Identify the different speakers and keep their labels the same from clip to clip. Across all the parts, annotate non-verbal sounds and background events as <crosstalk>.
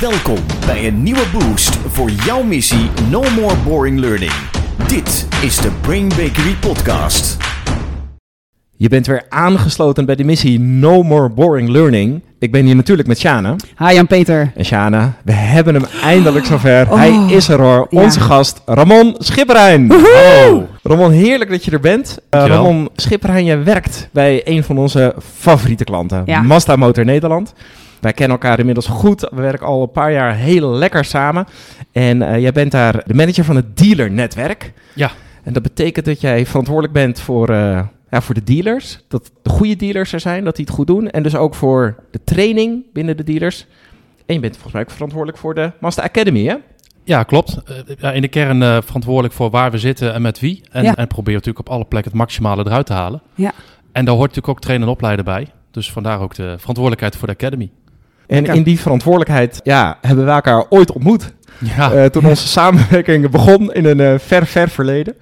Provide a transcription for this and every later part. Speaker 1: Welkom bij een nieuwe boost voor jouw missie No More Boring Learning. Dit is de Brain Bakery Podcast.
Speaker 2: Je bent weer aangesloten bij de missie No More Boring Learning. Ik ben hier natuurlijk met Shana.
Speaker 3: Hi Jan-Peter.
Speaker 2: En Shana, we hebben hem eindelijk zover. Oh. Hij is er hoor.
Speaker 3: ja.
Speaker 2: Onze gast Ramon Schipperijn.
Speaker 1: Oh,
Speaker 2: Ramon, heerlijk dat je er bent. Eh,
Speaker 1: Dankjewel.
Speaker 2: Ramon Schipperijn, jij werkt bij een van onze favoriete klanten,
Speaker 3: Ja.
Speaker 2: Mazda Motor Nederland. Wij kennen elkaar inmiddels goed. We werken al een paar jaar heel lekker samen. En eh, jij bent daar de manager van het dealernetwerk.
Speaker 4: Ja.
Speaker 2: En dat betekent dat jij verantwoordelijk bent voor, eh, ja, voor de dealers. Dat de goede dealers er zijn, dat die het goed doen. En dus ook voor de training binnen de dealers. En je bent volgens mij ook verantwoordelijk voor de Mazda Academy, hè?
Speaker 4: Ja, klopt. Eh, ja, in de kern eh, verantwoordelijk voor waar we zitten en met wie. En,
Speaker 3: Ja.
Speaker 4: en probeer natuurlijk op alle plekken het maximale eruit te halen.
Speaker 3: Ja.
Speaker 4: En daar hoort natuurlijk ook trainen en opleiden bij. Dus vandaar ook de verantwoordelijkheid voor de academy.
Speaker 2: En
Speaker 3: Ja.
Speaker 2: in die verantwoordelijkheid ja, hebben we elkaar ooit ontmoet.
Speaker 4: Ja,
Speaker 2: Eh, toen onze samenwerking begon in een eh, ver, ver verleden.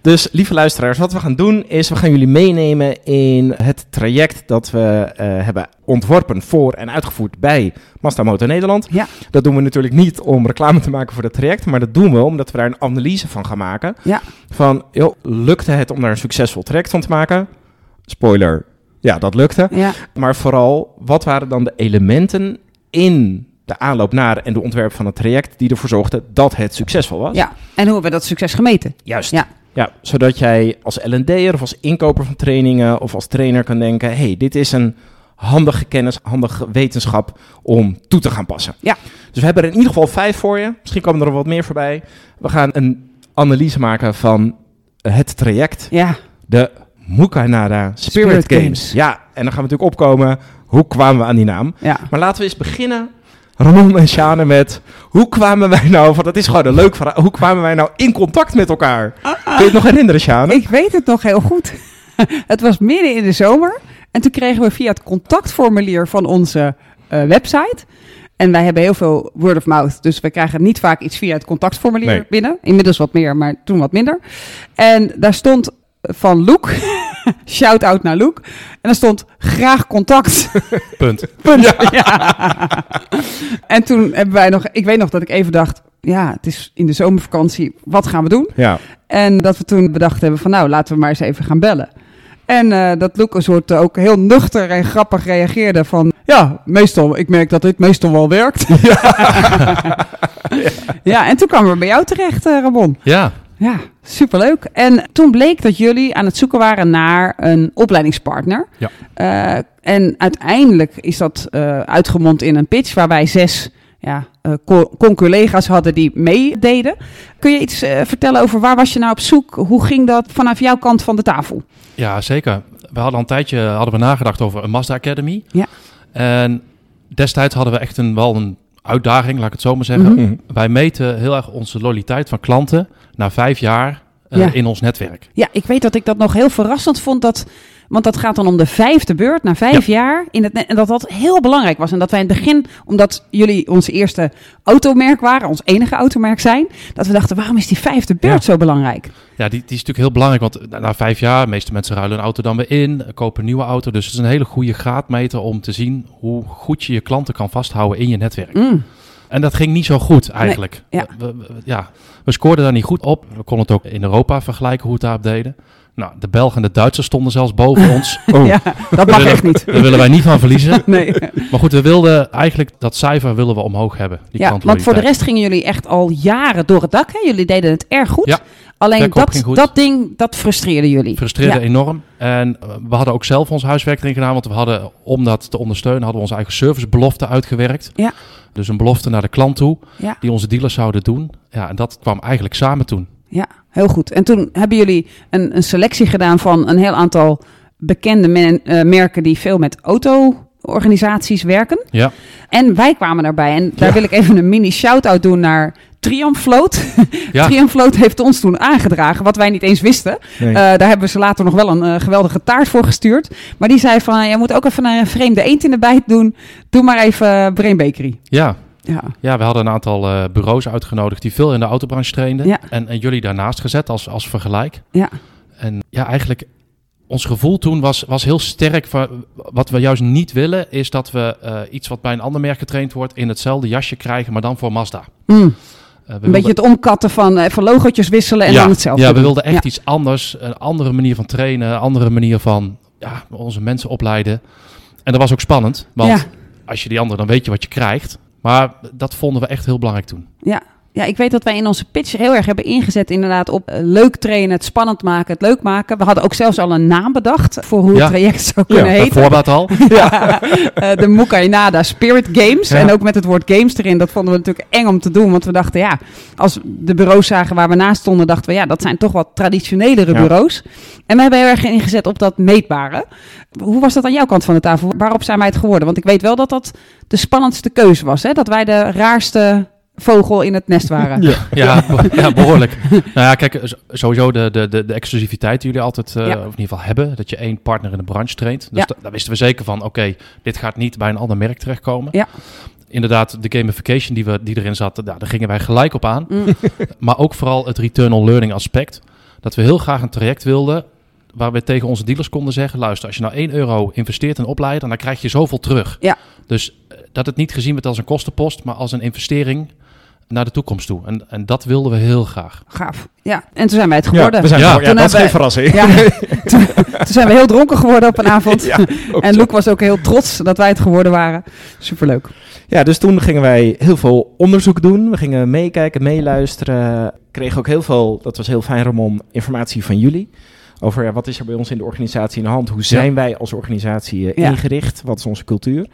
Speaker 2: Dus lieve luisteraars, wat we gaan doen is we gaan jullie meenemen in het traject dat we eh, hebben ontworpen voor en uitgevoerd bij Mazda Motor Nederland.
Speaker 3: Ja.
Speaker 2: Dat doen we natuurlijk niet om reclame te maken voor dat traject, maar dat doen we omdat we daar een analyse van gaan maken.
Speaker 3: Ja.
Speaker 2: Van, joh, lukte het om daar een succesvol traject van te maken? Spoiler, ja, dat lukte.
Speaker 3: Ja.
Speaker 2: Maar vooral, wat waren dan de elementen in de aanloop naar en de ontwerp van het traject die ervoor zorgden dat het succesvol was?
Speaker 3: ja. En hoe hebben we dat succes gemeten?
Speaker 2: Juist.
Speaker 3: Ja.
Speaker 2: Ja, zodat jij als L&D'er of als inkoper van trainingen of als trainer kan denken... hé, hey, dit is een handige kennis, handige wetenschap om toe te gaan passen.
Speaker 3: Ja.
Speaker 2: Dus we hebben er in ieder geval vijf voor je. Misschien komen er nog wat meer voorbij. We gaan een analyse maken van het traject
Speaker 3: Ja.
Speaker 2: de Mukainada Spirit,
Speaker 3: Spirit
Speaker 2: Games.
Speaker 3: Games.
Speaker 2: Ja, en dan gaan we natuurlijk opkomen, hoe kwamen we aan die naam?
Speaker 3: Ja.
Speaker 2: Maar laten we eens beginnen, Ramon en Sjane, met hoe kwamen wij nou, want dat is gewoon een leuk verhaal, hoe kwamen wij nou in contact met elkaar? Kun je het nog herinneren, Sjane?
Speaker 3: Ik weet het nog heel goed. <laughs> het was midden in de zomer. En toen kregen we via het contactformulier van onze eh, website. En wij hebben heel veel word of mouth. Dus we krijgen niet vaak iets via het contactformulier
Speaker 2: Nee.
Speaker 3: binnen. Inmiddels wat meer, maar toen wat minder. En daar stond van Loek. <laughs> Shout out naar Loek. En daar stond graag contact.
Speaker 4: punt.
Speaker 3: Punt. Ja. <laughs> En toen hebben wij nog, ik weet nog dat ik even dacht, ja, het is in de zomervakantie, wat gaan we doen?
Speaker 2: Ja,
Speaker 3: En dat we toen bedacht hebben van, nou, laten we maar eens even gaan bellen. En eh, dat Luc een soort eh, ook heel nuchter en grappig reageerde van, ja, meestal, ik merk dat dit meestal wel werkt. Ja, <laughs> en toen kwamen we bij jou terecht, eh, Ramon.
Speaker 4: Ja,
Speaker 3: Ja, superleuk. En toen bleek dat jullie aan het zoeken waren naar een opleidingspartner.
Speaker 4: Ja.
Speaker 3: Eh, en uiteindelijk is dat eh, uitgemond in een pitch waar wij zes ja, eh, co- conculega's hadden die meededen. Kun je iets eh, vertellen over waar was je nou op zoek? Hoe ging dat vanaf jouw kant van de tafel?
Speaker 4: ja zeker. We hadden al een tijdje eh, hadden we nagedacht over een Mazda Academy.
Speaker 3: Ja.
Speaker 4: En destijds hadden we echt een, wel een uitdaging, laat ik het zo maar zeggen.
Speaker 2: Mhm.
Speaker 4: Wij meten heel erg onze loyaliteit van klanten na vijf jaar eh,
Speaker 3: Ja.
Speaker 4: in ons netwerk.
Speaker 3: Ja, ik weet dat ik dat nog heel verrassend vond. Dat, want dat gaat dan om de vijfde beurt na vijf jaar. In het, net- en dat dat heel belangrijk was. En dat wij in het begin, omdat jullie ons eerste automerk waren, ons enige automerk zijn. Dat we dachten, waarom is die vijfde beurt
Speaker 4: Ja.
Speaker 3: zo belangrijk?
Speaker 4: Ja, die, die is natuurlijk heel belangrijk, want na, na vijf jaar, de meeste mensen ruilen een auto dan weer in, eh, kopen een nieuwe auto. Dus het is een hele goede graadmeter om te zien hoe goed je je klanten kan vasthouden in je netwerk.
Speaker 3: Mm,
Speaker 4: En dat ging niet zo goed eigenlijk.
Speaker 3: Nee, ja.
Speaker 4: We, we- we- ja, we scoorden daar niet goed op. We konden het ook in Europa vergelijken hoe het daar op deden. Nou, de Belgen en de Duitsers stonden zelfs boven
Speaker 3: <laughs>
Speaker 4: ons.
Speaker 2: Oh.
Speaker 3: Ja, dat
Speaker 4: <laughs>
Speaker 3: mag echt niet.
Speaker 4: Daar willen wij niet van verliezen.
Speaker 3: Nee.
Speaker 4: Maar goed, we wilden eigenlijk dat cijfer willen we omhoog hebben.
Speaker 3: <laughs>
Speaker 4: Die
Speaker 3: Ja, want voor de
Speaker 4: klantloyaliteit.
Speaker 3: rest gingen jullie echt al jaren door het dak. Hè? Jullie deden het erg goed.
Speaker 4: Ja,
Speaker 3: Alleen
Speaker 4: verkoop
Speaker 3: dat,
Speaker 4: ging goed.
Speaker 3: dat ding, dat frustreerde jullie.
Speaker 4: frustreerde
Speaker 3: Ja.
Speaker 4: enorm. En eh, we hadden ook zelf ons huiswerk erin gedaan. Want we hadden, om dat te ondersteunen, hadden we onze eigen servicebelofte uitgewerkt.
Speaker 3: Ja.
Speaker 4: Dus een belofte naar de klant toe,
Speaker 3: Ja.
Speaker 4: die onze dealers zouden doen. Ja, en dat kwam eigenlijk samen toen.
Speaker 3: Ja, heel goed. En toen hebben jullie een, een selectie gedaan van een heel aantal bekende men- eh, merken die veel met auto-organisaties werken.
Speaker 4: Ja,
Speaker 3: En wij kwamen daarbij. En daar wil ik even een mini shout-out doen naar Triumfloat.
Speaker 4: <laughs> ja.
Speaker 3: Triumfloat heeft ons toen aangedragen, wat wij niet eens wisten.
Speaker 2: Nee.
Speaker 3: Eh, daar hebben ze later nog wel een eh, geweldige taart voor gestuurd. Maar die zei van, je moet ook even een vreemde eend in de bijt doen. Doe maar even eh, Brain Bakery.
Speaker 4: ja.
Speaker 3: Ja,
Speaker 4: ja we hadden een aantal eh, bureaus uitgenodigd die veel in de autobranche trainden.
Speaker 3: Ja.
Speaker 4: En, en jullie daarnaast gezet als, als vergelijk.
Speaker 3: ja.
Speaker 4: En ja, eigenlijk ons gevoel toen was, was heel sterk. van- Wat we juist niet willen, is dat we eh, iets wat bij een ander merk getraind wordt, in hetzelfde jasje krijgen, maar dan voor Mazda. Eh, we
Speaker 3: Mm. Een beetje het omkatten van eh, even logootjes wisselen en dan hetzelfde.
Speaker 4: Ja, we
Speaker 3: doen.
Speaker 4: wilden echt
Speaker 3: Ja.
Speaker 4: iets anders. Een andere manier van trainen, een andere manier van ja, onze mensen opleiden. En dat was ook spannend, want
Speaker 3: Ja.
Speaker 4: als je die andere, dan weet je wat je krijgt. Maar dat vonden we echt heel belangrijk toen.
Speaker 3: Ja. ja, ik weet dat wij in onze pitch heel erg hebben ingezet inderdaad op eh, leuk trainen, het spannend maken, het leuk maken. We hadden ook zelfs al een naam bedacht voor hoe
Speaker 4: Ja.
Speaker 3: het traject zou kunnen
Speaker 4: Bij
Speaker 3: heten.
Speaker 4: voorbaat al.
Speaker 3: <laughs> Eh, de Mukainada Spirit Games.
Speaker 4: Ja.
Speaker 3: En ook met het woord games erin. Dat vonden we natuurlijk eng om te doen. Want we dachten, ja, als we de bureaus zagen waar we naast stonden, dachten we, ja, dat zijn toch wat traditionelere
Speaker 2: Ja.
Speaker 3: bureaus. En we hebben heel erg ingezet op dat meetbare. Hoe was dat aan jouw kant van de tafel? Waarop zijn wij het geworden? Want ik weet wel dat dat de spannendste keuze was. Hè? Dat wij de raarste vogel in het nest waren.
Speaker 2: Ja.
Speaker 4: <laughs> Ja, be-
Speaker 3: <laughs>
Speaker 4: ja, behoorlijk. nou ja, kijk, s- sowieso de, de, de, de exclusiviteit die jullie altijd, eh,
Speaker 3: Ja.
Speaker 4: of in ieder geval hebben, dat je één partner in de branche traint. Dus
Speaker 3: Ja.
Speaker 4: da- daar wisten we zeker van, oké, dit gaat niet bij een ander merk terechtkomen.
Speaker 3: Ja.
Speaker 4: Inderdaad, de gamification die, we, die erin zat, nou, daar gingen wij gelijk op aan.
Speaker 3: Mm.
Speaker 4: <laughs> maar ook vooral het return on learning aspect. Dat we heel graag een traject wilden waar we tegen onze dealers konden zeggen... luister, als je nou 1 euro investeert in opleiden, dan krijg je zoveel terug.
Speaker 3: Ja.
Speaker 4: Dus eh, dat het niet gezien werd als een kostenpost, maar als een investering naar de toekomst toe. En, en dat wilden we heel graag.
Speaker 3: Gaaf. Ja, en toen zijn wij het
Speaker 2: Ja,
Speaker 3: geworden.
Speaker 2: we zijn
Speaker 4: Ja.
Speaker 2: ja, ja,
Speaker 3: Toen
Speaker 2: dat is
Speaker 3: hebben
Speaker 2: geen
Speaker 3: we-
Speaker 2: verrassing.
Speaker 3: Ja,
Speaker 2: <laughs>
Speaker 3: toen, toen zijn we heel dronken geworden op een avond.
Speaker 2: Ja, ook
Speaker 3: en
Speaker 2: zo.
Speaker 3: Luc was ook heel trots dat wij het geworden waren. Superleuk.
Speaker 2: Ja, dus toen gingen wij heel veel onderzoek doen. We gingen meekijken, meeluisteren. Kregen ook heel veel, dat was heel fijn Ramon, informatie van jullie. Over ja, wat is er bij ons in de organisatie aan de hand? Hoe zijn wij als organisatie eh,
Speaker 3: Ja.
Speaker 2: ingericht? Wat is onze cultuur?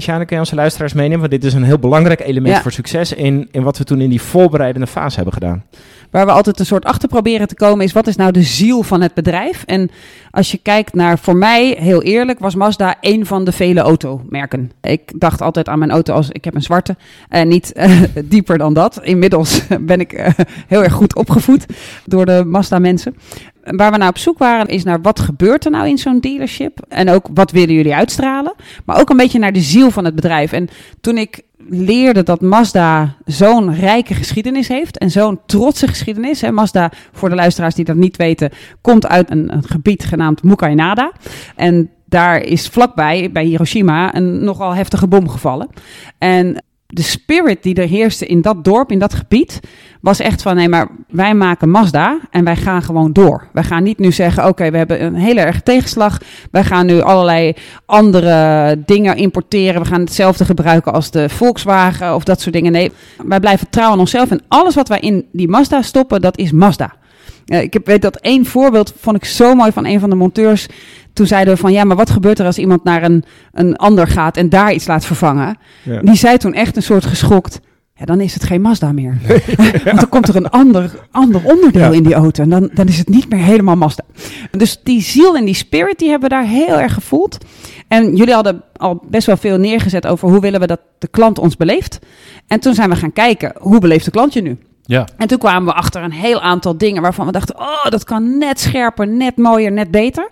Speaker 2: Sjane, kun je onze luisteraars meenemen? Want dit is een heel belangrijk element
Speaker 3: Ja.
Speaker 2: voor succes in, in wat we toen in die voorbereidende fase hebben gedaan.
Speaker 3: Waar we altijd een soort achter proberen te komen is wat is nou de ziel van het bedrijf? En als je kijkt naar, voor mij heel eerlijk, was Mazda een van de vele automerken. Ik dacht altijd aan mijn auto als ik heb een zwarte en niet <laughs> eh, dieper dan dat. Inmiddels <laughs> ben ik eh, heel erg goed opgevoed door de Mazda mensen. Waar we naar op zoek waren is naar wat gebeurt er nou in zo'n dealership? En ook wat willen jullie uitstralen? Maar ook een beetje naar de ziel van het bedrijf. En toen ik leerde dat Mazda zo'n rijke geschiedenis heeft en zo'n trotse geschiedenis. Hè. Mazda, voor de luisteraars die dat niet weten, komt uit een, een gebied genaamd Mukainada. En daar is vlakbij, bij Hiroshima, een nogal heftige bom gevallen. En de spirit die er heerste in dat dorp, in dat gebied, was echt van nee, maar wij maken Mazda en wij gaan gewoon door. Wij gaan niet nu zeggen, oké, we hebben een hele erg tegenslag. Wij gaan nu allerlei andere dingen importeren. We gaan hetzelfde gebruiken als de Volkswagen of dat soort dingen. Nee, wij blijven trouw aan onszelf. En alles wat wij in die Mazda stoppen, dat is Mazda. Eh, Ik heb- weet dat één voorbeeld, vond ik zo mooi van een van de monteurs. Toen zeiden we van, ja, maar wat gebeurt er als iemand naar een, een ander gaat en daar iets laat vervangen?
Speaker 2: Ja.
Speaker 3: Die zei toen echt een soort geschokt. Ja, dan is het geen Mazda meer. <laughs> Want dan komt er een ander, ander onderdeel
Speaker 2: Ja.
Speaker 3: in die auto. En dan, dan is het niet meer helemaal Mazda. Dus die ziel en die spirit, die hebben we daar heel erg gevoeld. En jullie hadden al best wel veel neergezet over hoe willen we dat de klant ons beleeft. En toen zijn we gaan kijken, hoe beleeft de klant je nu?
Speaker 4: Ja,
Speaker 3: En toen kwamen we achter een heel aantal dingen waarvan we dachten: oh, dat kan net scherper, net mooier, net beter.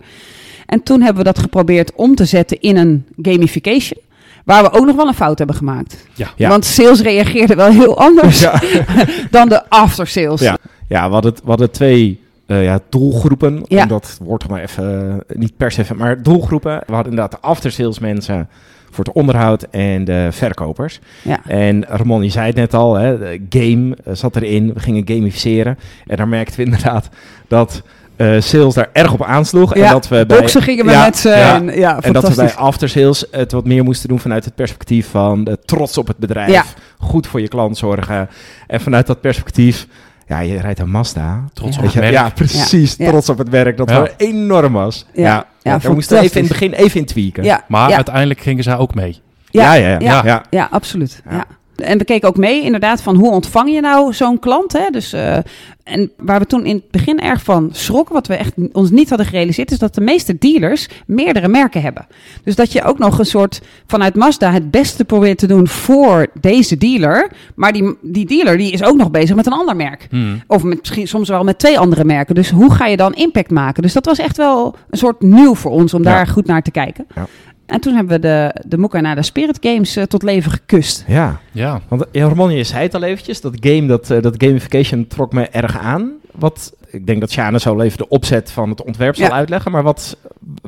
Speaker 3: En toen hebben we dat geprobeerd om te zetten in een gamification. Waar we ook nog wel een fout hebben gemaakt.
Speaker 4: Ja.
Speaker 2: Ja.
Speaker 3: Want sales reageerde wel heel anders
Speaker 2: <laughs> Ja.
Speaker 3: <laughs> dan de after sales.
Speaker 2: Ja, ja we, hadden, we hadden twee eh, ja, doelgroepen.
Speaker 3: Ja.
Speaker 2: Om dat woord maar even, eh, niet per se, maar doelgroepen. We hadden inderdaad de aftersalesmensen mensen voor het onderhoud en de verkopers.
Speaker 3: Ja.
Speaker 2: En Ramon, je zei het net al, hè, de game eh, zat erin. We gingen gamificeren. En daar merkten we inderdaad dat eh, sales daar erg op aansloeg.
Speaker 3: Ja,
Speaker 2: En dat we bij,
Speaker 3: Boksen gingen we
Speaker 2: Ja,
Speaker 3: met ze.
Speaker 2: ja. en
Speaker 3: en, ja,
Speaker 2: dat we
Speaker 3: Ah, fantastisch.
Speaker 2: bij aftersales het wat meer moesten doen vanuit het perspectief van de trots op het bedrijf.
Speaker 3: Ja.
Speaker 2: Goed voor je klant zorgen. En vanuit dat perspectief, ja, je rijdt een Mazda.
Speaker 4: trots op
Speaker 2: Weet
Speaker 4: het
Speaker 2: je,
Speaker 4: merk.
Speaker 2: ja, precies.
Speaker 3: Ja.
Speaker 2: Trots op het werk. Dat
Speaker 4: Ja.
Speaker 2: wel enorm was.
Speaker 3: Ja.
Speaker 2: Ja,
Speaker 3: Ja,
Speaker 2: ja, daar moesten we even in het
Speaker 3: fantastisch.
Speaker 2: begin even in tweaken.
Speaker 3: ja,
Speaker 4: Maar
Speaker 3: ja.
Speaker 4: uiteindelijk gingen zij ook mee.
Speaker 2: ja, ja. ja,
Speaker 3: Ja.
Speaker 2: ja.
Speaker 3: Ja, absoluut. Ja.
Speaker 2: Ja.
Speaker 3: En we keken ook mee inderdaad van hoe ontvang je nou zo'n klant. Hè? Dus, eh, en waar we toen in het begin erg van schrokken, wat we echt n- ons niet hadden gerealiseerd, is dat de meeste dealers meerdere merken hebben. Dus dat je ook nog een soort vanuit Mazda het beste probeert te doen voor deze dealer. Maar die, die dealer die is ook nog bezig met een ander merk.
Speaker 4: Hmm.
Speaker 3: Of met, misschien soms wel met twee andere merken. Dus hoe ga je dan impact maken? Dus dat was echt wel een soort nieuw voor ons om
Speaker 2: Ja.
Speaker 3: daar goed naar te kijken.
Speaker 2: Ja.
Speaker 3: En toen hebben we de, de Moeka naar de Spirit Games eh, tot leven gekust.
Speaker 2: Ja.
Speaker 4: Ja,
Speaker 2: want eh, Ramon, je zei het al eventjes, dat game, dat, eh, dat gamification trok me erg aan. Wat ik denk dat Sjane zo wel even de opzet van het ontwerp zal
Speaker 3: Ja.
Speaker 2: uitleggen. Maar wat,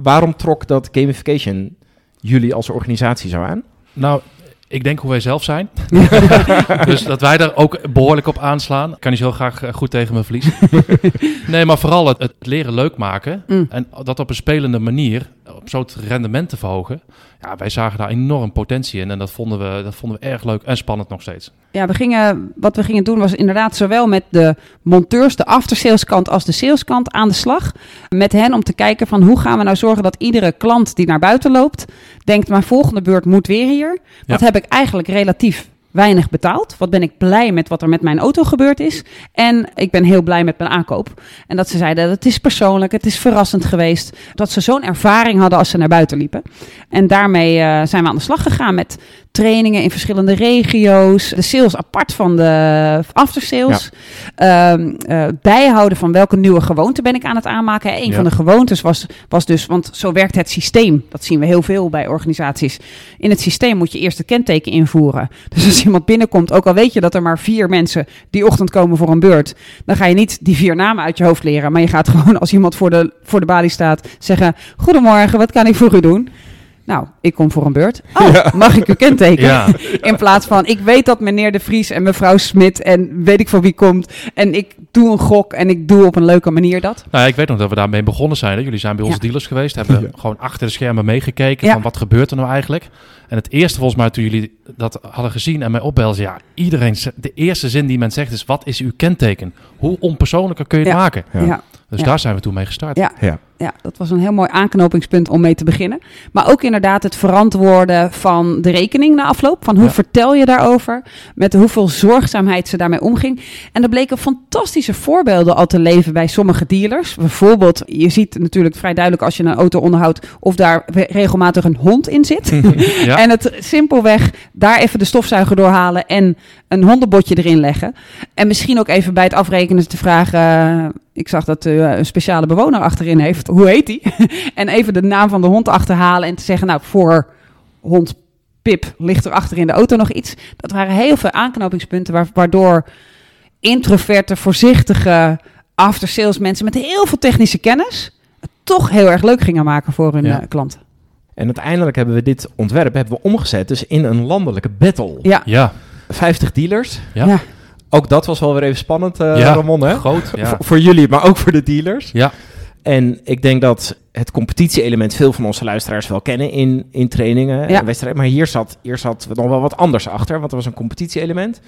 Speaker 2: waarom trok dat gamification jullie als organisatie zo aan?
Speaker 4: Nou, ik denk hoe wij zelf
Speaker 3: <laughs>
Speaker 4: zijn. dus dat wij daar ook behoorlijk op aanslaan. Ik kan niet zo graag eh, goed tegen
Speaker 3: <laughs>
Speaker 4: me verliezen. nee, maar vooral het, het leren leuk maken.
Speaker 3: Mm.
Speaker 4: En dat op een spelende manier. Op zo'n rendement te verhogen. Ja, wij zagen daar enorm potentie in. En dat vonden we, dat vonden we erg leuk en spannend nog steeds.
Speaker 3: Ja, we gingen, wat we gingen doen was inderdaad zowel met de monteurs, de aftersaleskant als de saleskant aan de slag. Met hen om te kijken van hoe gaan we nou zorgen dat iedere klant die naar buiten loopt, denkt mijn volgende beurt moet weer hier. Wat
Speaker 4: Ja.
Speaker 3: heb ik eigenlijk relatief weinig betaald? Wat ben ik blij met wat er met mijn auto gebeurd is? En ik ben heel blij met mijn aankoop. En dat ze zeiden, het is persoonlijk, het is verrassend geweest. Dat ze zo'n ervaring hadden als ze naar buiten liepen. En daarmee eh, zijn we aan de slag gegaan met trainingen in verschillende regio's. De sales apart van de aftersales. Ehm, eh, bijhouden van welke nieuwe gewoonte ben ik aan het aanmaken. Hè, Een
Speaker 4: Ja.
Speaker 3: van de gewoontes was, was dus, want zo werkt het systeem. Dat zien we heel veel bij organisaties. In het systeem moet je eerst het kenteken invoeren. Dus als iemand binnenkomt, ook al weet je dat er maar vier mensen die ochtend komen voor een beurt. Dan ga je niet die vier namen uit je hoofd leren. Maar je gaat gewoon als iemand voor de, voor de balie staat zeggen. Goedemorgen, wat kan ik voor u doen? Nou, ik kom voor een beurt. Oh, mag ik uw kenteken?
Speaker 4: Ja.
Speaker 3: In plaats van, ik weet dat meneer De Vries en mevrouw Smit en weet ik van wie komt. En ik doe een gok en ik doe op een leuke manier dat.
Speaker 4: Nou, ja, ik weet nog dat we daarmee begonnen zijn. Hè. Jullie zijn bij onze
Speaker 3: Ja.
Speaker 4: dealers geweest, hebben gewoon achter de schermen meegekeken
Speaker 3: Ja.
Speaker 4: van wat gebeurt er nou eigenlijk. En het eerste volgens mij toen jullie dat hadden gezien en mij opbelden, ja, iedereen, z- de eerste zin die men zegt is wat is uw kenteken? Hoe onpersoonlijker kun je het
Speaker 3: Ja.
Speaker 4: maken?
Speaker 2: Ja.
Speaker 3: ja.
Speaker 4: Dus
Speaker 3: Ja.
Speaker 4: daar zijn we toen mee gestart.
Speaker 3: Ja.
Speaker 2: Ja.
Speaker 3: Ja, dat was een heel mooi aanknopingspunt om mee te beginnen. Maar ook inderdaad het verantwoorden van de rekening na afloop. Van hoe
Speaker 4: Ja.
Speaker 3: vertel je daarover? Met hoeveel zorgzaamheid ze daarmee omging. En er bleken fantastische voorbeelden al te leven bij sommige dealers. Bijvoorbeeld, je ziet natuurlijk vrij duidelijk als je een auto onderhoudt... of daar re- regelmatig een hond in zit.
Speaker 4: Ja.
Speaker 3: En het simpelweg daar even de stofzuiger doorhalen en een hondenbotje erin leggen. En misschien ook even bij het afrekenen te vragen. eh, ik zag dat u eh, een speciale bewoner achterin heeft. Hoe heet die? <laughs> en even de naam van de hond achterhalen en te zeggen, nou, voor hond Pip ligt er achter in de auto nog iets. Dat waren heel veel aanknopingspunten waar- waardoor introverte, voorzichtige after-sales mensen met heel veel technische kennis het toch heel erg leuk gingen maken voor hun
Speaker 4: Ja.
Speaker 3: eh, klanten.
Speaker 2: En uiteindelijk hebben we dit ontwerp hebben we omgezet dus in een landelijke battle.
Speaker 3: Ja.
Speaker 4: Ja,
Speaker 2: 50 dealers.
Speaker 4: Ja.
Speaker 3: Ja.
Speaker 2: Ook dat was wel weer even spannend, eh,
Speaker 4: Ja.
Speaker 2: Ramon, hè?
Speaker 4: groot. Ja.
Speaker 2: Voor, voor jullie, maar ook voor de dealers.
Speaker 4: Ja.
Speaker 2: En ik denk dat het competitie-element veel van onze luisteraars wel kennen in, in trainingen
Speaker 3: Ja.
Speaker 2: en wedstrijden. Maar hier zat, hier zat nog wel wat anders achter, want er was een competitie-element.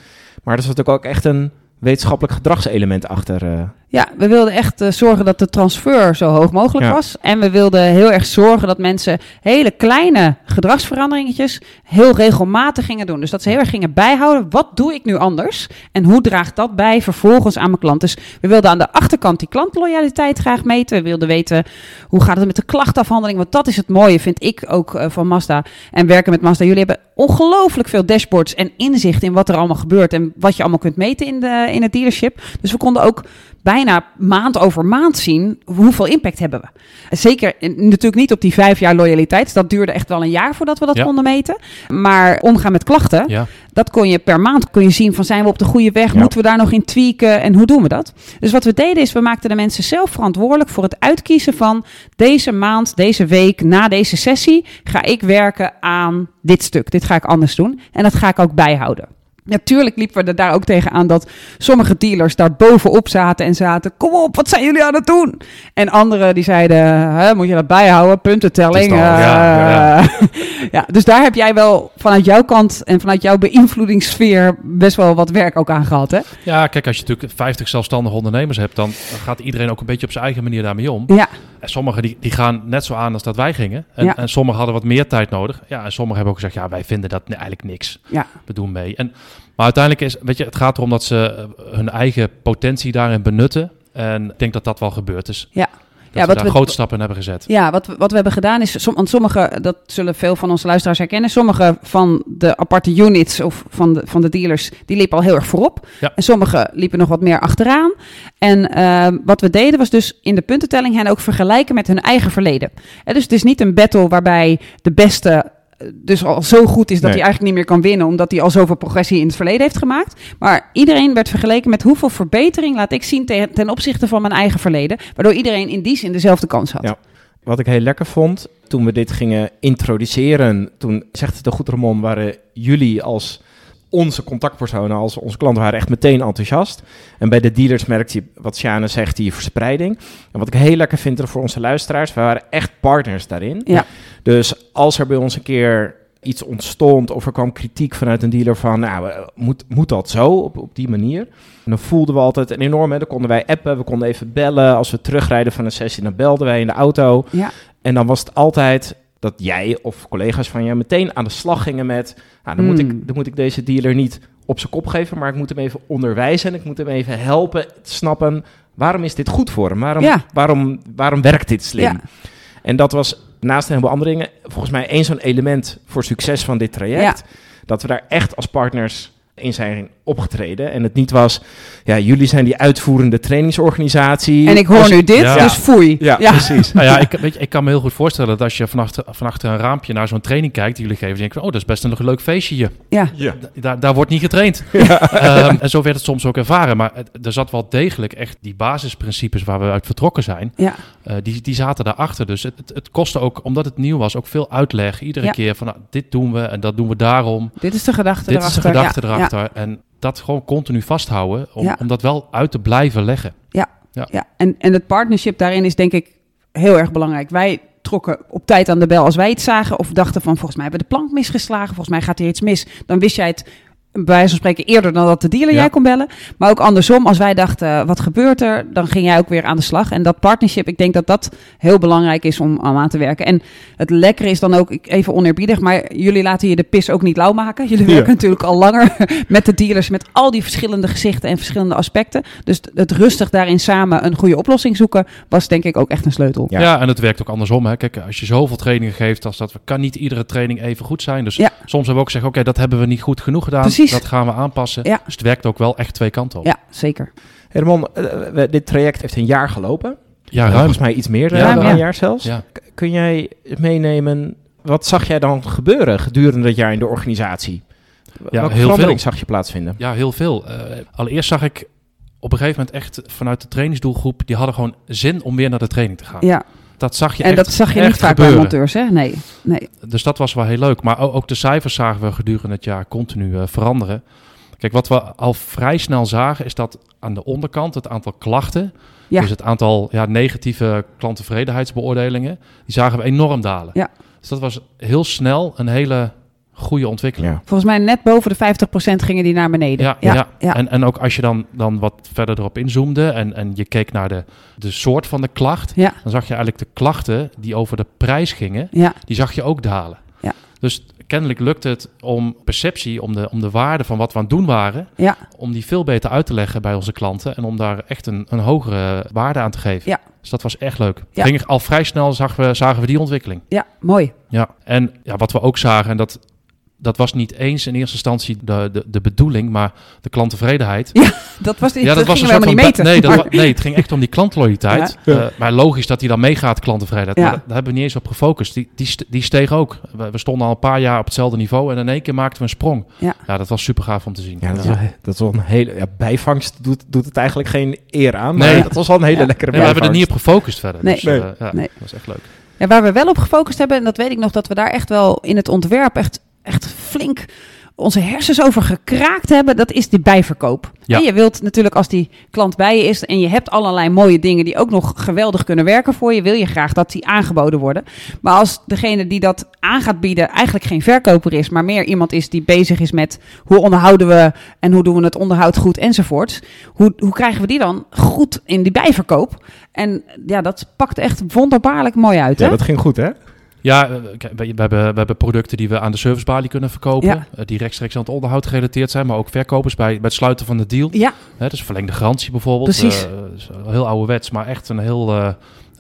Speaker 2: Maar er zat ook, ook echt een wetenschappelijk gedragselement achter. eh.
Speaker 3: Ja, we wilden echt eh, zorgen dat de transfer zo hoog mogelijk
Speaker 2: Ja.
Speaker 3: was. En we wilden heel erg zorgen dat mensen hele kleine gedragsveranderingetjes heel regelmatig gingen doen. Dus dat ze heel erg gingen bijhouden, wat doe ik nu anders? En hoe draagt dat bij vervolgens aan mijn klant? Dus we wilden aan de achterkant die klantloyaliteit graag meten. We wilden weten, hoe gaat het met de klachtafhandeling? Want dat is het mooie, vind ik ook eh, van Mazda en werken met Mazda. Jullie hebben ongelooflijk veel dashboards en inzicht in wat er allemaal gebeurt en wat je allemaal kunt meten in, de, in het dealership. Dus we konden ook bijna maand over maand zien hoeveel impact hebben we. En Zeker eh, natuurlijk niet op die vijf jaar loyaliteit. Dat duurde echt wel een jaar voordat we dat
Speaker 4: Ja.
Speaker 3: konden meten. Maar omgaan met klachten,
Speaker 4: Ja.
Speaker 3: dat kon je per maand kon je zien van zijn we op de goede weg,
Speaker 2: Ja.
Speaker 3: moeten we daar nog in tweaken en hoe doen we dat? Dus wat we deden is we maakten de mensen zelf verantwoordelijk voor het uitkiezen van deze maand, deze week, na deze sessie ga ik werken aan dit stuk. Dit ga ik anders doen en dat ga ik ook bijhouden. Natuurlijk liepen we er daar ook tegen aan dat sommige dealers daar bovenop zaten en zaten: Kom op, wat zijn jullie aan het doen? En anderen die zeiden: "Hè, Moet je dat bijhouden? Puntentelling.
Speaker 4: Het is dan-
Speaker 3: eh,
Speaker 4: ja, ja,
Speaker 3: ja, dus daar heb jij wel vanuit jouw kant en vanuit jouw beïnvloedingssfeer best wel wat werk ook aan gehad, hè?
Speaker 4: ja, kijk, als je natuurlijk 50 zelfstandige ondernemers hebt, dan gaat iedereen ook een beetje op zijn eigen manier daarmee om.
Speaker 3: Ja,
Speaker 4: En sommigen die, die gaan net zo aan als dat wij gingen. En,
Speaker 3: Ja.
Speaker 4: en sommigen hadden wat meer tijd nodig. Ja, en sommigen hebben ook gezegd, ja, wij vinden dat eigenlijk niks.
Speaker 3: ja,
Speaker 4: we doen mee. En, maar uiteindelijk is, weet je, het gaat erom dat ze eh, hun eigen potentie daarin benutten. En ik denk dat dat wel gebeurd is.
Speaker 3: ja.
Speaker 4: Dat
Speaker 3: wat
Speaker 4: we daar
Speaker 3: we-
Speaker 4: grote stappen in hebben
Speaker 3: <laughs>
Speaker 4: gezet.
Speaker 3: Ja, wat, we- wat we hebben gedaan is, som, want sommige, dat zullen veel van onze luisteraars herkennen, sommige van de aparte units of van de, van de dealers, die liepen al heel erg voorop.
Speaker 4: Ja.
Speaker 3: En sommige liepen nog wat meer achteraan. En ehm, wat we deden was dus in de puntentelling hen ook vergelijken met hun eigen verleden. En dus het is niet een battle waarbij de beste eh, dus al zo goed is dat
Speaker 2: Nee.
Speaker 3: hij eigenlijk niet meer kan winnen, omdat hij al zoveel progressie in het verleden heeft gemaakt. Maar iedereen werd vergeleken met hoeveel verbetering laat ik zien ten, ten opzichte van mijn eigen verleden, waardoor iedereen in die zin dezelfde kans had.
Speaker 2: Ja. Wat ik heel lekker vond, toen we dit gingen introduceren, toen zegt het de goed Ramon, waren jullie als onze contactpersonen, als onze klanten, waren echt meteen enthousiast. En bij de dealers merkt je, wat Sjane zegt, die verspreiding. En wat ik heel lekker vind voor onze luisteraars, we waren echt partners daarin.
Speaker 3: Ja.
Speaker 2: Dus als er bij ons een keer iets ontstond of er kwam kritiek vanuit een dealer van, nou, eh, moet, moet dat zo, op, op die manier? En dan voelden we altijd een enorm, hè, dan konden wij appen, we konden even bellen. Als we terugrijden van een sessie, dan belden wij in de auto.
Speaker 3: Ja.
Speaker 2: En dan was het altijd dat jij of collega's van jou meteen aan de slag gingen met... Nou, dan, moet
Speaker 3: Hmm.
Speaker 2: ik, dan moet ik deze dealer niet op zijn kop geven, maar ik moet hem even onderwijzen. En ik moet hem even helpen te snappen, waarom is dit goed voor hem? Waarom,
Speaker 3: Ja.
Speaker 2: waarom, waarom werkt dit slim?
Speaker 3: Ja.
Speaker 2: En dat was naast een heleboel andere dingen, volgens mij één zo'n element voor succes van dit traject. Dat we daar echt als partners in zijn opgetreden. En het niet was, ja, jullie zijn die uitvoerende trainingsorganisatie.
Speaker 3: En ik hoor
Speaker 2: Als-
Speaker 3: nu dit,
Speaker 4: Ja.
Speaker 3: dus foei.
Speaker 2: Ja, precies.
Speaker 4: Nou ja, ik, weet je, ik kan me heel goed voorstellen dat als je vanachter, vanachter een raampje naar zo'n training kijkt die jullie geven, denk je, oh, dat is best een leuk feestje hier.
Speaker 3: Ja.
Speaker 4: Da- daar, daar wordt niet getraind.
Speaker 3: <laughs>
Speaker 4: Ehm, en zo werd het soms ook ervaren. Maar het- er zat wel degelijk echt die basisprincipes waar we uit vertrokken zijn.
Speaker 3: Ja.
Speaker 4: eh, die, die zaten daarachter. Dus het, het, het kostte ook, omdat het nieuw was, ook veel uitleg. Iedere
Speaker 3: Ja.
Speaker 4: keer van nou, dit doen we en dat doen we daarom.
Speaker 3: Dit is de gedachte
Speaker 4: Dit is de
Speaker 3: erachter.
Speaker 4: gedachte
Speaker 3: Ja,
Speaker 4: erachter. En dat gewoon continu vasthouden. Om,
Speaker 3: Ja.
Speaker 4: om dat wel uit te blijven leggen.
Speaker 3: Ja, en, en het partnership daarin is denk ik heel erg belangrijk. Wij trokken op tijd aan de bel als wij iets zagen of dachten van volgens mij hebben we de plank misgeslagen, volgens mij gaat hier iets mis. Dan wist jij het bij wijze van spreken eerder dan dat de dealer
Speaker 4: Ja.
Speaker 3: jij kon bellen. Maar ook andersom, als wij dachten eh, wat gebeurt er, dan ging jij ook weer aan de slag. En dat partnership, ik denk dat dat heel belangrijk is om om aan te werken. En het lekkere is dan ook, ik- even oneerbiedig, maar jullie laten je de pis ook niet lauw maken. Jullie
Speaker 2: Ja.
Speaker 3: werken natuurlijk al langer <laughs> met de dealers, met al die verschillende gezichten en verschillende aspecten. Dus t- het rustig daarin samen een goede oplossing zoeken, was denk ik ook echt een sleutel.
Speaker 2: Ja.
Speaker 4: Ja. en het werkt ook andersom. Hè. Kijk, als je zoveel trainingen geeft als dat, we- kan niet iedere training even goed zijn. Dus
Speaker 3: Ja.
Speaker 4: soms hebben we ook gezegd, oké, dat hebben we niet goed genoeg gedaan.
Speaker 3: Precies.
Speaker 4: Dat gaan we aanpassen.
Speaker 3: Ja.
Speaker 4: Dus het werkt ook wel echt twee kanten op.
Speaker 3: Ja, zeker.
Speaker 2: Herman, eh, we- dit traject heeft een jaar gelopen.
Speaker 4: Ja, ruim.
Speaker 2: Volgens mij iets meer dan
Speaker 4: Ja,
Speaker 2: een
Speaker 3: ja.
Speaker 2: jaar zelfs.
Speaker 4: Ja.
Speaker 2: K- Kun jij meenemen, wat zag jij dan gebeuren gedurende dat jaar in de organisatie? W-
Speaker 4: Ja,
Speaker 2: Welke
Speaker 4: heel
Speaker 2: verandering
Speaker 4: veel.
Speaker 2: zag je plaatsvinden?
Speaker 4: Ja, heel veel. Eh, allereerst zag ik op een gegeven moment echt vanuit de trainingsdoelgroep... die hadden gewoon zin om weer naar de training te gaan.
Speaker 3: Ja.
Speaker 4: Dat zag je
Speaker 3: En
Speaker 4: echt
Speaker 3: dat zag je niet
Speaker 4: echt
Speaker 3: vaak bij
Speaker 4: gebeuren.
Speaker 3: monteurs, hè? Nee. nee.
Speaker 4: Dus dat was wel heel leuk. Maar o- ook de cijfers zagen we gedurende het jaar continu eh, veranderen. Kijk, wat we al vrij snel zagen is dat aan de onderkant het aantal klachten...
Speaker 3: Ja.
Speaker 4: dus het aantal ja, negatieve klanttevredenheidsbeoordelingen... die zagen we enorm dalen.
Speaker 3: Ja.
Speaker 4: Dus dat was heel snel een hele goede ontwikkeling.
Speaker 2: Ja.
Speaker 3: Volgens mij net boven de 50% gingen die naar beneden.
Speaker 4: Ja, ja, En, en ook als je dan, dan wat verder erop inzoomde en, en je keek naar de, de soort van de klacht,
Speaker 3: Ja.
Speaker 4: dan zag je eigenlijk de klachten die over de prijs gingen,
Speaker 3: Ja.
Speaker 4: die zag je ook dalen.
Speaker 3: Ja.
Speaker 4: Dus kennelijk lukt het om perceptie, om de, om de waarde van wat we aan het doen waren,
Speaker 3: Ja.
Speaker 4: om die veel beter uit te leggen bij onze klanten en om daar echt een, een hogere waarde aan te geven.
Speaker 3: Ja.
Speaker 4: Dus dat was echt leuk.
Speaker 3: Ja.
Speaker 4: Ging, al vrij snel zagen we, zagen we die ontwikkeling.
Speaker 3: ja, mooi.
Speaker 4: Ja, en ja, wat we ook zagen, en dat, dat was niet eens in eerste instantie de, de, de bedoeling, maar de klanttevredenheid.
Speaker 3: Dat was,
Speaker 4: ja,
Speaker 3: dat gingen we helemaal
Speaker 4: van.
Speaker 3: niet meten.
Speaker 4: Nee, dat,
Speaker 3: Maar- <laughs>
Speaker 4: wa- nee, het ging echt om die klantloyaliteit. Eh, maar logisch dat die dan meegaat, klanttevredenheid.
Speaker 3: Ja.
Speaker 4: Maar da- daar hebben we niet eens op gefocust. Die, die, st- die steeg ook. We, we stonden al een paar jaar op hetzelfde niveau en in één keer maakten we een sprong.
Speaker 3: Ja.
Speaker 4: dat was super gaaf om te zien.
Speaker 2: Ja, dat is, wel- dat is wel een hele... Ja, bijvangst doet, doet het eigenlijk geen eer aan, maar
Speaker 4: Nee.
Speaker 2: dat was wel een hele
Speaker 3: Ja.
Speaker 2: lekkere
Speaker 4: Nee, we hebben er
Speaker 2: bijvangst.
Speaker 4: niet op gefocust verder.
Speaker 3: Nee.
Speaker 4: Dus, eh,
Speaker 2: Nee.
Speaker 4: ja,
Speaker 3: Nee.
Speaker 4: dat was echt leuk.
Speaker 3: Ja, waar we wel op gefocust hebben, en dat weet ik nog, dat we daar echt wel in het ontwerp echt, echt flink onze hersens over gekraakt hebben, dat is die bijverkoop.
Speaker 4: Ja.
Speaker 3: En je wilt natuurlijk als die klant bij je is en je hebt allerlei mooie dingen die ook nog geweldig kunnen werken voor je, wil je graag dat die aangeboden worden. Maar als degene die dat aan gaat bieden eigenlijk geen verkoper is, maar meer iemand is die bezig is met hoe onderhouden we en hoe doen we het onderhoud goed enzovoorts, hoe, hoe krijgen we die dan goed in die bijverkoop? En ja, dat pakt echt wonderbaarlijk mooi uit.
Speaker 2: Ja,
Speaker 3: hè?
Speaker 2: dat ging goed, hè?
Speaker 4: Ja, eh, kijk, we, we hebben, we hebben producten die we aan de servicebalie kunnen verkopen.
Speaker 3: Ja.
Speaker 4: eh, Die rechtstreeks aan het onderhoud gerelateerd zijn. Maar ook verkopers bij, bij het sluiten van de deal.
Speaker 3: Ja,
Speaker 4: Hè, dus verlengde garantie bijvoorbeeld.
Speaker 3: Precies.
Speaker 4: Eh, is heel ouderwets, maar echt een heel eh,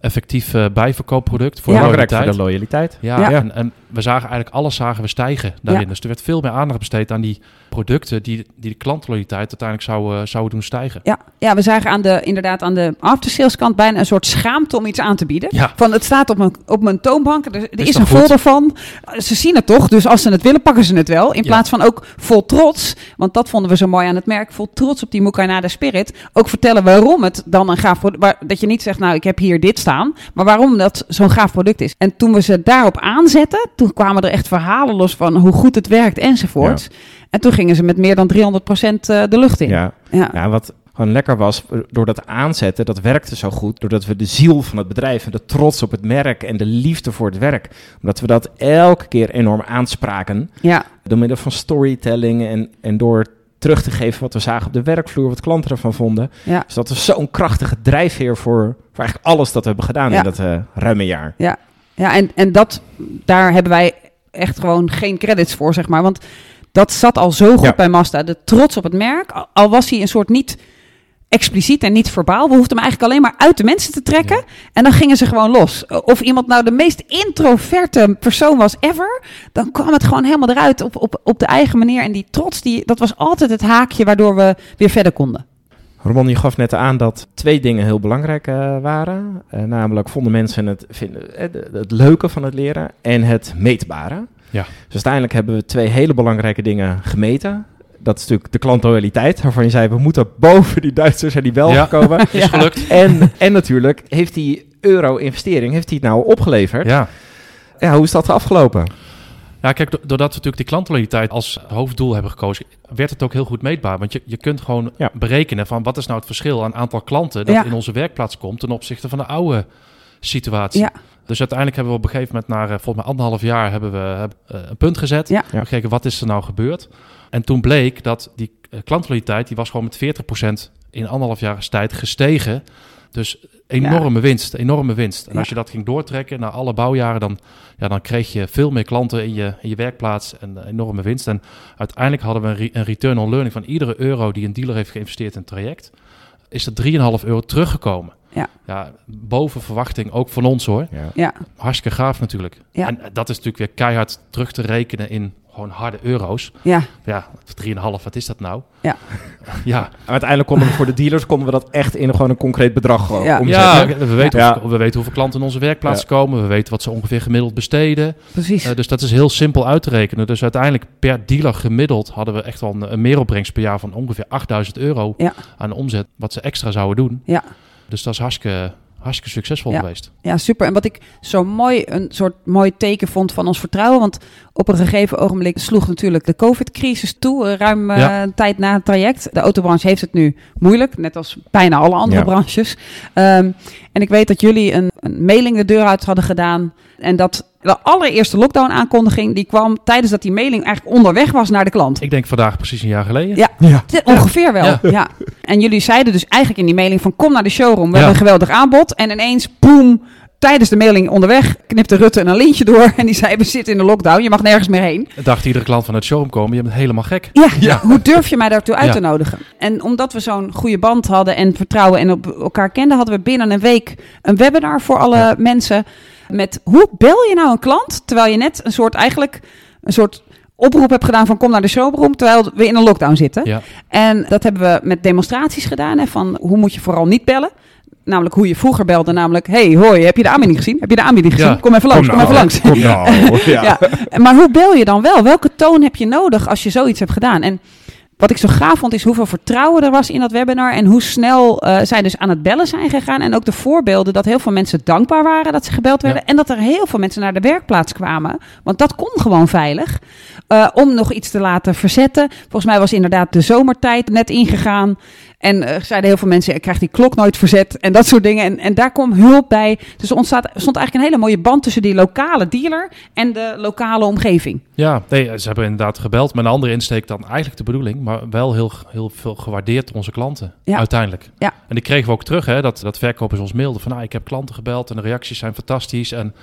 Speaker 4: effectief eh, bijverkoopproduct voor
Speaker 3: Ja.
Speaker 4: de
Speaker 2: Belangrijk voor de
Speaker 4: loyaliteit.
Speaker 2: loyaliteit.
Speaker 4: Ja,
Speaker 3: Ja.
Speaker 4: En, en we zagen eigenlijk alles zagen we stijgen daarin.
Speaker 3: Ja.
Speaker 4: Dus er werd veel meer aandacht besteed aan die producten die, die de klantloyaliteit uiteindelijk zouden, zouden doen stijgen.
Speaker 3: Ja, ja we zagen aan de, inderdaad aan de aftersaleskant kant bijna een soort schaamte om iets aan te bieden.
Speaker 4: Ja.
Speaker 3: Van het staat op mijn, op mijn toonbank, er, er is,
Speaker 4: toch
Speaker 3: een
Speaker 4: goed?
Speaker 3: folder van. Ze zien het toch, dus als ze het willen pakken ze het wel. In
Speaker 4: Ja.
Speaker 3: plaats van ook vol trots, want dat vonden we zo mooi aan het merk, vol trots op die Mukainada Spirit. Ook vertellen waarom het dan een gaaf product, waar, dat je niet zegt nou ik heb hier dit staan, maar waarom dat zo'n gaaf product is. En toen we ze daarop aanzetten, toen kwamen er echt verhalen los van hoe goed het werkt enzovoort. En toen gingen ze met meer dan 300% eh, de lucht in.
Speaker 2: Ja.
Speaker 3: Ja.
Speaker 2: ja, Nou, wat gewoon lekker was, door dat aanzetten, dat werkte zo goed. Doordat we de ziel van het bedrijf en de trots op het merk en de liefde voor het werk, omdat we dat elke keer enorm aanspraken.
Speaker 3: ja.
Speaker 2: Door middel van storytelling en, en door terug te geven wat we zagen op de werkvloer, wat klanten ervan vonden.
Speaker 3: Ja.
Speaker 2: Dus dat is zo'n krachtige drijfveer voor, voor eigenlijk alles dat we hebben gedaan
Speaker 3: Ja.
Speaker 2: in dat eh, ruime jaar.
Speaker 3: Ja, ja en, en dat, daar hebben wij echt gewoon geen credits voor, zeg maar. Want dat zat al zo goed
Speaker 2: Ja.
Speaker 3: bij Mazda. De trots op het merk, al- al was hij een soort niet expliciet en niet verbaal. We hoefden hem eigenlijk alleen maar uit de mensen te trekken. En dan gingen ze gewoon los. Of iemand nou de meest introverte persoon was ever, dan kwam het gewoon helemaal eruit op, op, op de eigen manier. En die trots, die, dat was altijd het haakje waardoor we weer verder konden.
Speaker 2: Ramon, je gaf net aan dat twee dingen heel belangrijk eh, waren. Eh, namelijk vonden mensen het, vinden, eh, de- het leuke van het leren en het meetbare.
Speaker 4: Ja.
Speaker 2: Dus uiteindelijk hebben we twee hele belangrijke dingen gemeten. Dat is natuurlijk de klantloyaliteit, waarvan je zei, we moeten boven die Duitsers zijn die Belgen
Speaker 4: Ja.
Speaker 2: <laughs> komen. Dus-
Speaker 4: Is gelukt.
Speaker 2: En, en natuurlijk, heeft die euro-investering, heeft die het nou opgeleverd?
Speaker 4: Ja.
Speaker 2: Ja, hoe is dat afgelopen?
Speaker 4: Ja, Nou, kijk, do- doordat we natuurlijk die klantloyaliteit als hoofddoel hebben gekozen, werd het ook heel goed meetbaar. Want je, je kunt gewoon
Speaker 2: Ja.
Speaker 4: berekenen van wat is nou het verschil aan aantal klanten dat
Speaker 3: Ja.
Speaker 4: in onze werkplaats komt ten opzichte van de oude situatie.
Speaker 3: Ja.
Speaker 4: Dus uiteindelijk hebben we op een gegeven moment, na eh, volgens mij anderhalf jaar, hebben we eh, een punt gezet.
Speaker 3: Ja.
Speaker 4: We gekeken wat is er nou gebeurd. En toen bleek dat die eh, klantloyaliteit, die was gewoon met 40% in anderhalf jaar tijd gestegen. Dus enorme winst, enorme winst. En
Speaker 3: Ja.
Speaker 4: als je dat ging doortrekken naar alle bouwjaren, dan, ja, dan kreeg je veel meer klanten in je, in je werkplaats en eh, enorme winst. En uiteindelijk hadden we een, re- een return on learning van iedere euro die een dealer heeft geïnvesteerd in het traject, is er 3,5 euro teruggekomen.
Speaker 3: Ja.
Speaker 4: ja, boven verwachting, ook van ons hoor.
Speaker 3: Ja,
Speaker 4: Hartstikke gaaf natuurlijk.
Speaker 3: Ja.
Speaker 4: En eh, dat is natuurlijk weer keihard terug te rekenen in gewoon harde euro's.
Speaker 3: ja,
Speaker 4: Ja, 3,5, wat is dat nou?
Speaker 3: Ja.
Speaker 4: <laughs> ja,
Speaker 2: Maar uiteindelijk konden we voor de dealers konden we dat echt in gewoon een concreet bedrag eh,
Speaker 3: Ja.
Speaker 2: omzetten.
Speaker 4: ja we, weten
Speaker 2: Ja.
Speaker 4: hoe- we weten hoeveel klanten in onze werkplaats
Speaker 2: Ja.
Speaker 4: komen. We weten wat ze ongeveer gemiddeld besteden.
Speaker 3: precies.
Speaker 4: Eh, dus dat is heel simpel uit te rekenen. Dus uiteindelijk per dealer gemiddeld hadden we echt wel een, een meeropbrengst per jaar van ongeveer 8000 euro
Speaker 3: Ja.
Speaker 4: aan omzet. Wat ze extra zouden doen.
Speaker 3: Ja.
Speaker 4: Dus dat is hartstikke, hartstikke succesvol
Speaker 3: Ja.
Speaker 4: geweest.
Speaker 3: Ja, super. En wat ik zo mooi, een soort mooi teken vond van ons vertrouwen. Want op een gegeven ogenblik sloeg natuurlijk de COVID-crisis toe. eh, Ruim eh,
Speaker 4: Ja.
Speaker 3: een tijd na het traject. De autobranche heeft het nu moeilijk. Net als bijna alle andere
Speaker 2: Ja.
Speaker 3: branches. Ehm, en ik weet dat jullie een, een mailing de deur uit hadden gedaan. En dat de allereerste lockdown-aankondiging. die kwam tijdens dat die mailing eigenlijk onderweg was naar de klant.
Speaker 4: Ik denk vandaag precies een jaar geleden.
Speaker 3: Ja. Te- Ongeveer wel,
Speaker 4: Ja.
Speaker 3: ja. En jullie zeiden dus eigenlijk in die mailing van kom naar de showroom, we
Speaker 4: Ja.
Speaker 3: hebben een geweldig aanbod. En ineens, boem, tijdens de mailing onderweg knipte Rutte een lintje door <laughs> en die zei we zitten in de lockdown, je mag nergens meer heen.
Speaker 4: Dacht iedere klant van het showroom komen, je bent helemaal gek.
Speaker 3: Ja,
Speaker 4: Ja.
Speaker 3: hoe durf je mij daartoe uit
Speaker 4: Ja.
Speaker 3: te nodigen? En omdat we zo'n goede band hadden en vertrouwen en op elkaar kenden, hadden we binnen een week een webinar voor alle
Speaker 4: Ja.
Speaker 3: mensen. Met hoe bel je nou een klant terwijl je net een soort eigenlijk een soort oproep hebt gedaan van kom naar de showroom terwijl we in een lockdown zitten.
Speaker 4: Ja.
Speaker 3: En dat hebben we met demonstraties gedaan. Hè, van hoe moet je vooral niet bellen. Namelijk hoe je vroeger belde. Namelijk, hey, hoi, heb je de aanbieding gezien? Heb je de aanbieding gezien?
Speaker 4: Ja.
Speaker 3: Kom even langs, kom, even langs.
Speaker 2: Kom nou. ja.
Speaker 3: <laughs> Ja. Maar hoe bel je dan wel? Welke toon heb je nodig als je zoiets hebt gedaan? En wat ik zo gaaf vond, is hoeveel vertrouwen er was in dat webinar. En hoe snel eh, zij dus aan het bellen zijn gegaan. En ook de voorbeelden dat heel veel mensen dankbaar waren dat ze gebeld werden. En dat er heel veel mensen naar de werkplaats kwamen. Want dat kon gewoon veilig. eh, om nog iets te laten verzetten. Volgens mij was inderdaad de zomertijd net ingegaan. En eh, zeiden heel veel mensen, ik krijg die klok nooit verzet. En dat soort dingen. En, en daar kwam hulp bij. Dus er ontstaat, stond eigenlijk een hele mooie band tussen die lokale dealer en de lokale omgeving.
Speaker 4: Ja, nee, ze hebben inderdaad gebeld met een andere insteek dan eigenlijk de bedoeling, maar wel heel, heel veel gewaardeerd door onze klanten
Speaker 3: Ja.
Speaker 4: uiteindelijk.
Speaker 3: Ja.
Speaker 4: En die kregen we ook terug, hè, dat, dat verkopers ons mailden van ah, ik heb klanten gebeld en de reacties zijn fantastisch. En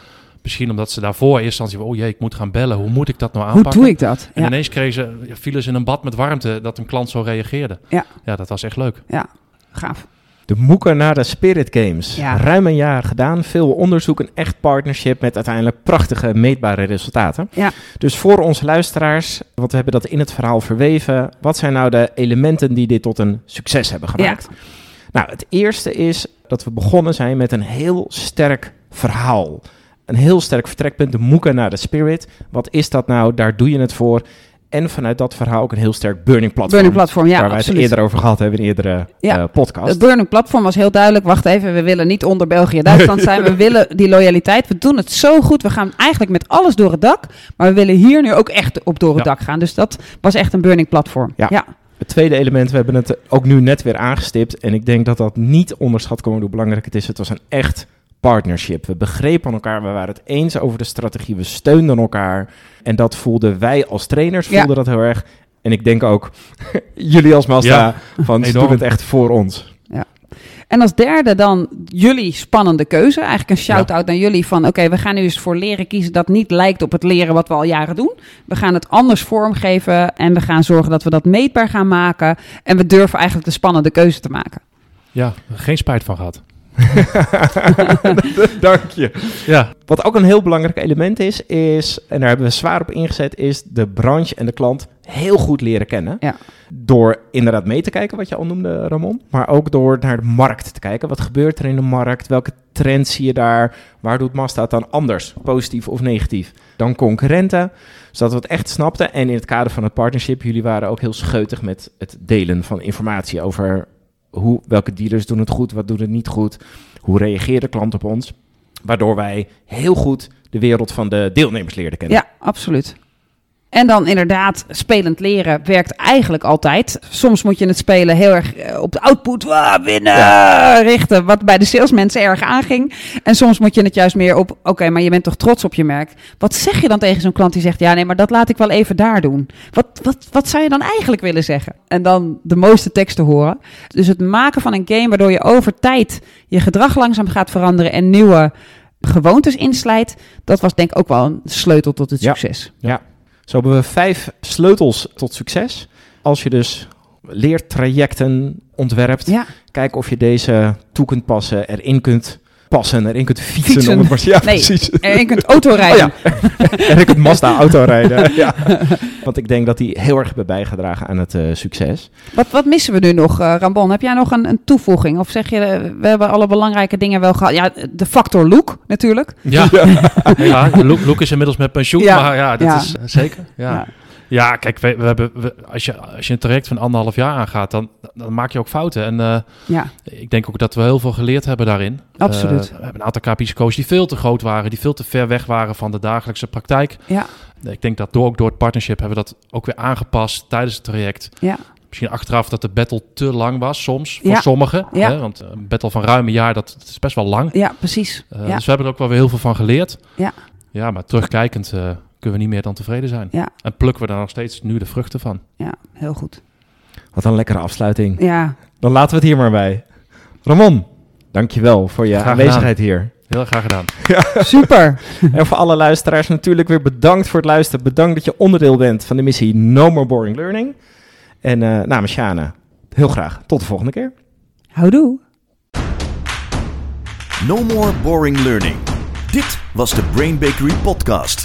Speaker 4: misschien omdat ze daarvoor in eerste instantie, oh jee, ik moet gaan bellen, hoe moet ik dat nou aanpakken?
Speaker 3: Hoe doe ik dat?
Speaker 4: En
Speaker 3: Ja.
Speaker 4: ineens kregen ze, ja, vielen ze in een bad met warmte dat een klant zo reageerde.
Speaker 3: Ja.
Speaker 4: ja dat was echt leuk.
Speaker 3: ja, gaaf.
Speaker 2: De Mukanada Spirit Games.
Speaker 3: Ja.
Speaker 2: Ruim een jaar gedaan. Veel onderzoek, een echt partnership met uiteindelijk prachtige meetbare resultaten.
Speaker 3: Ja.
Speaker 2: Dus voor onze luisteraars, want we hebben dat in het verhaal verweven. Wat zijn nou de elementen die dit tot een succes hebben gemaakt? Nou, het eerste is dat we begonnen zijn met een heel sterk verhaal. Een heel sterk vertrekpunt, de Mukanada Spirit. Wat is dat nou? Daar doe je het voor. En vanuit dat verhaal ook een heel sterk burning platform.
Speaker 3: Burning Platform, ja,
Speaker 2: waar wij
Speaker 3: absoluut.
Speaker 2: het eerder over gehad hebben in een eerdere
Speaker 3: Ja.
Speaker 2: eh, podcast.
Speaker 3: Het Burning Platform was heel duidelijk. Wacht even, we willen niet onder België en Duitsland
Speaker 2: <laughs>
Speaker 3: zijn. We willen die loyaliteit. We doen het zo goed. We gaan eigenlijk met alles door het dak. Maar we willen hier nu ook echt op door het
Speaker 4: Ja.
Speaker 3: dak gaan. Dus dat was echt een Burning Platform.
Speaker 2: Ja.
Speaker 3: ja.
Speaker 2: Het tweede element, we hebben het ook nu net weer aangestipt. En ik denk dat dat niet onderschat kan worden hoe belangrijk het is. Het was een echt partnership. We begrepen elkaar, we waren het eens over de strategie. We steunden elkaar. En dat voelden wij als trainers,
Speaker 3: Ja.
Speaker 2: voelden dat heel erg. En ik denk ook <laughs> jullie als Mazda, van ze
Speaker 4: Enorm.
Speaker 2: doen het echt voor ons.
Speaker 3: En als derde dan jullie spannende keuze. Eigenlijk een shout-out naar jullie van... oké, we gaan nu eens voor leren kiezen dat niet lijkt op het leren wat we al jaren doen. We gaan het anders vormgeven en we gaan zorgen dat we dat meetbaar gaan maken. En we durven eigenlijk de spannende keuze te maken.
Speaker 4: Ja, geen spijt
Speaker 3: <laughs>
Speaker 4: van gehad.
Speaker 2: <laughs> Dank je.
Speaker 4: Ja,
Speaker 2: Wat ook een heel belangrijk element is, is, en daar hebben we zwaar op ingezet, is de branche en de klant heel goed leren kennen.
Speaker 3: Ja.
Speaker 2: Door inderdaad mee te kijken, wat je al noemde, Ramon. Maar ook door naar de markt te kijken. Wat gebeurt er in de markt? Welke trends zie je daar? Waar doet Mazda het dan anders, positief of negatief, dan concurrenten? Zodat we het echt snapten. En in het kader van het partnership, jullie waren ook heel scheutig met het delen van informatie over hoe, welke dealers doen het goed, wat doen het niet goed. Hoe reageert de klant op ons? Waardoor wij heel goed de wereld van de deelnemers leerden kennen.
Speaker 3: Ja, absoluut. En dan inderdaad, spelend leren werkt eigenlijk altijd. Soms moet je het spelen heel erg eh, op de output, "Wah, winnen, richten. Wat bij de salesmensen erg aanging. En soms moet je het juist meer op, oké, maar je bent toch trots op je merk. Wat zeg je dan tegen zo'n klant die zegt, ja nee, maar dat laat ik wel even daar doen. Wat, wat, wat zou je dan eigenlijk willen zeggen? En dan de mooiste teksten horen. Dus het maken van een game waardoor je over tijd je gedrag langzaam gaat veranderen en nieuwe gewoontes inslijt. Dat was denk ik ook wel een sleutel tot het
Speaker 2: Ja.
Speaker 3: succes.
Speaker 2: Zo hebben we vijf sleutels tot succes. Als je dus leertrajecten ontwerpt,
Speaker 3: Ja.
Speaker 2: kijk of je deze toe kunt passen, erin kunt passen, erin kunt fietsen.
Speaker 3: Fietsen.
Speaker 2: Om het maar, ja,
Speaker 3: Nee.
Speaker 2: precies.
Speaker 3: En je kunt autorijden.
Speaker 2: Oh en ik kunt Mazda
Speaker 3: <laughs>
Speaker 2: auto rijden. ja. Want ik denk dat die heel erg hebben bijgedragen aan het eh, succes.
Speaker 3: wat, wat missen we nu nog, eh, Rambon? Heb jij nog een, een toevoeging? Of zeg je, eh, we hebben alle belangrijke dingen wel gehad. Ja, de factor look natuurlijk.
Speaker 4: ja. ja Loek, Loek is inmiddels met pensioen,
Speaker 3: Ja,
Speaker 4: maar ja, dat
Speaker 3: ja.
Speaker 4: is eh, zeker. Ja, ja. kijk, we, we hebben, we- als, je, als je een traject van anderhalf jaar aangaat, dan, dan maak je ook fouten. En eh,
Speaker 3: Ja,
Speaker 4: Ik denk ook dat we heel veel geleerd hebben daarin.
Speaker 3: Absoluut.
Speaker 4: Eh, we hebben een aantal KPI's gekozen die veel te groot waren, die veel te ver weg waren van de dagelijkse praktijk.
Speaker 3: ja,
Speaker 4: Ik denk dat door, ook door het partnership hebben we dat ook weer aangepast tijdens het traject.
Speaker 3: ja,
Speaker 4: Misschien achteraf dat de battle te lang was soms, voor
Speaker 3: Ja.
Speaker 4: sommigen.
Speaker 3: Ja.
Speaker 4: Hè? Want eh, een battle van ruim een jaar, dat, dat is best wel lang.
Speaker 3: ja precies.
Speaker 4: Eh,
Speaker 3: ja.
Speaker 4: Dus we hebben er ook wel weer heel veel van geleerd.
Speaker 3: Ja.
Speaker 4: ja maar terugkijkend eh, kunnen we niet meer dan tevreden zijn.
Speaker 3: Ja.
Speaker 4: En plukken we daar nog steeds nu de vruchten van.
Speaker 3: ja, heel goed.
Speaker 2: Wat een lekkere afsluiting.
Speaker 3: Ja,
Speaker 2: Dan laten we het hier maar bij. Ramon, dankjewel voor je
Speaker 4: Graag gedaan.
Speaker 2: aanwezigheid hier.
Speaker 4: Heel graag gedaan.
Speaker 3: super.
Speaker 2: En voor alle luisteraars natuurlijk weer bedankt voor het luisteren. Bedankt dat je onderdeel bent van de missie No More Boring Learning. En eh, namens Shana, heel graag. Tot de volgende keer.
Speaker 3: Houdoe.
Speaker 1: No more boring learning. Dit was de Brain Bakery podcast.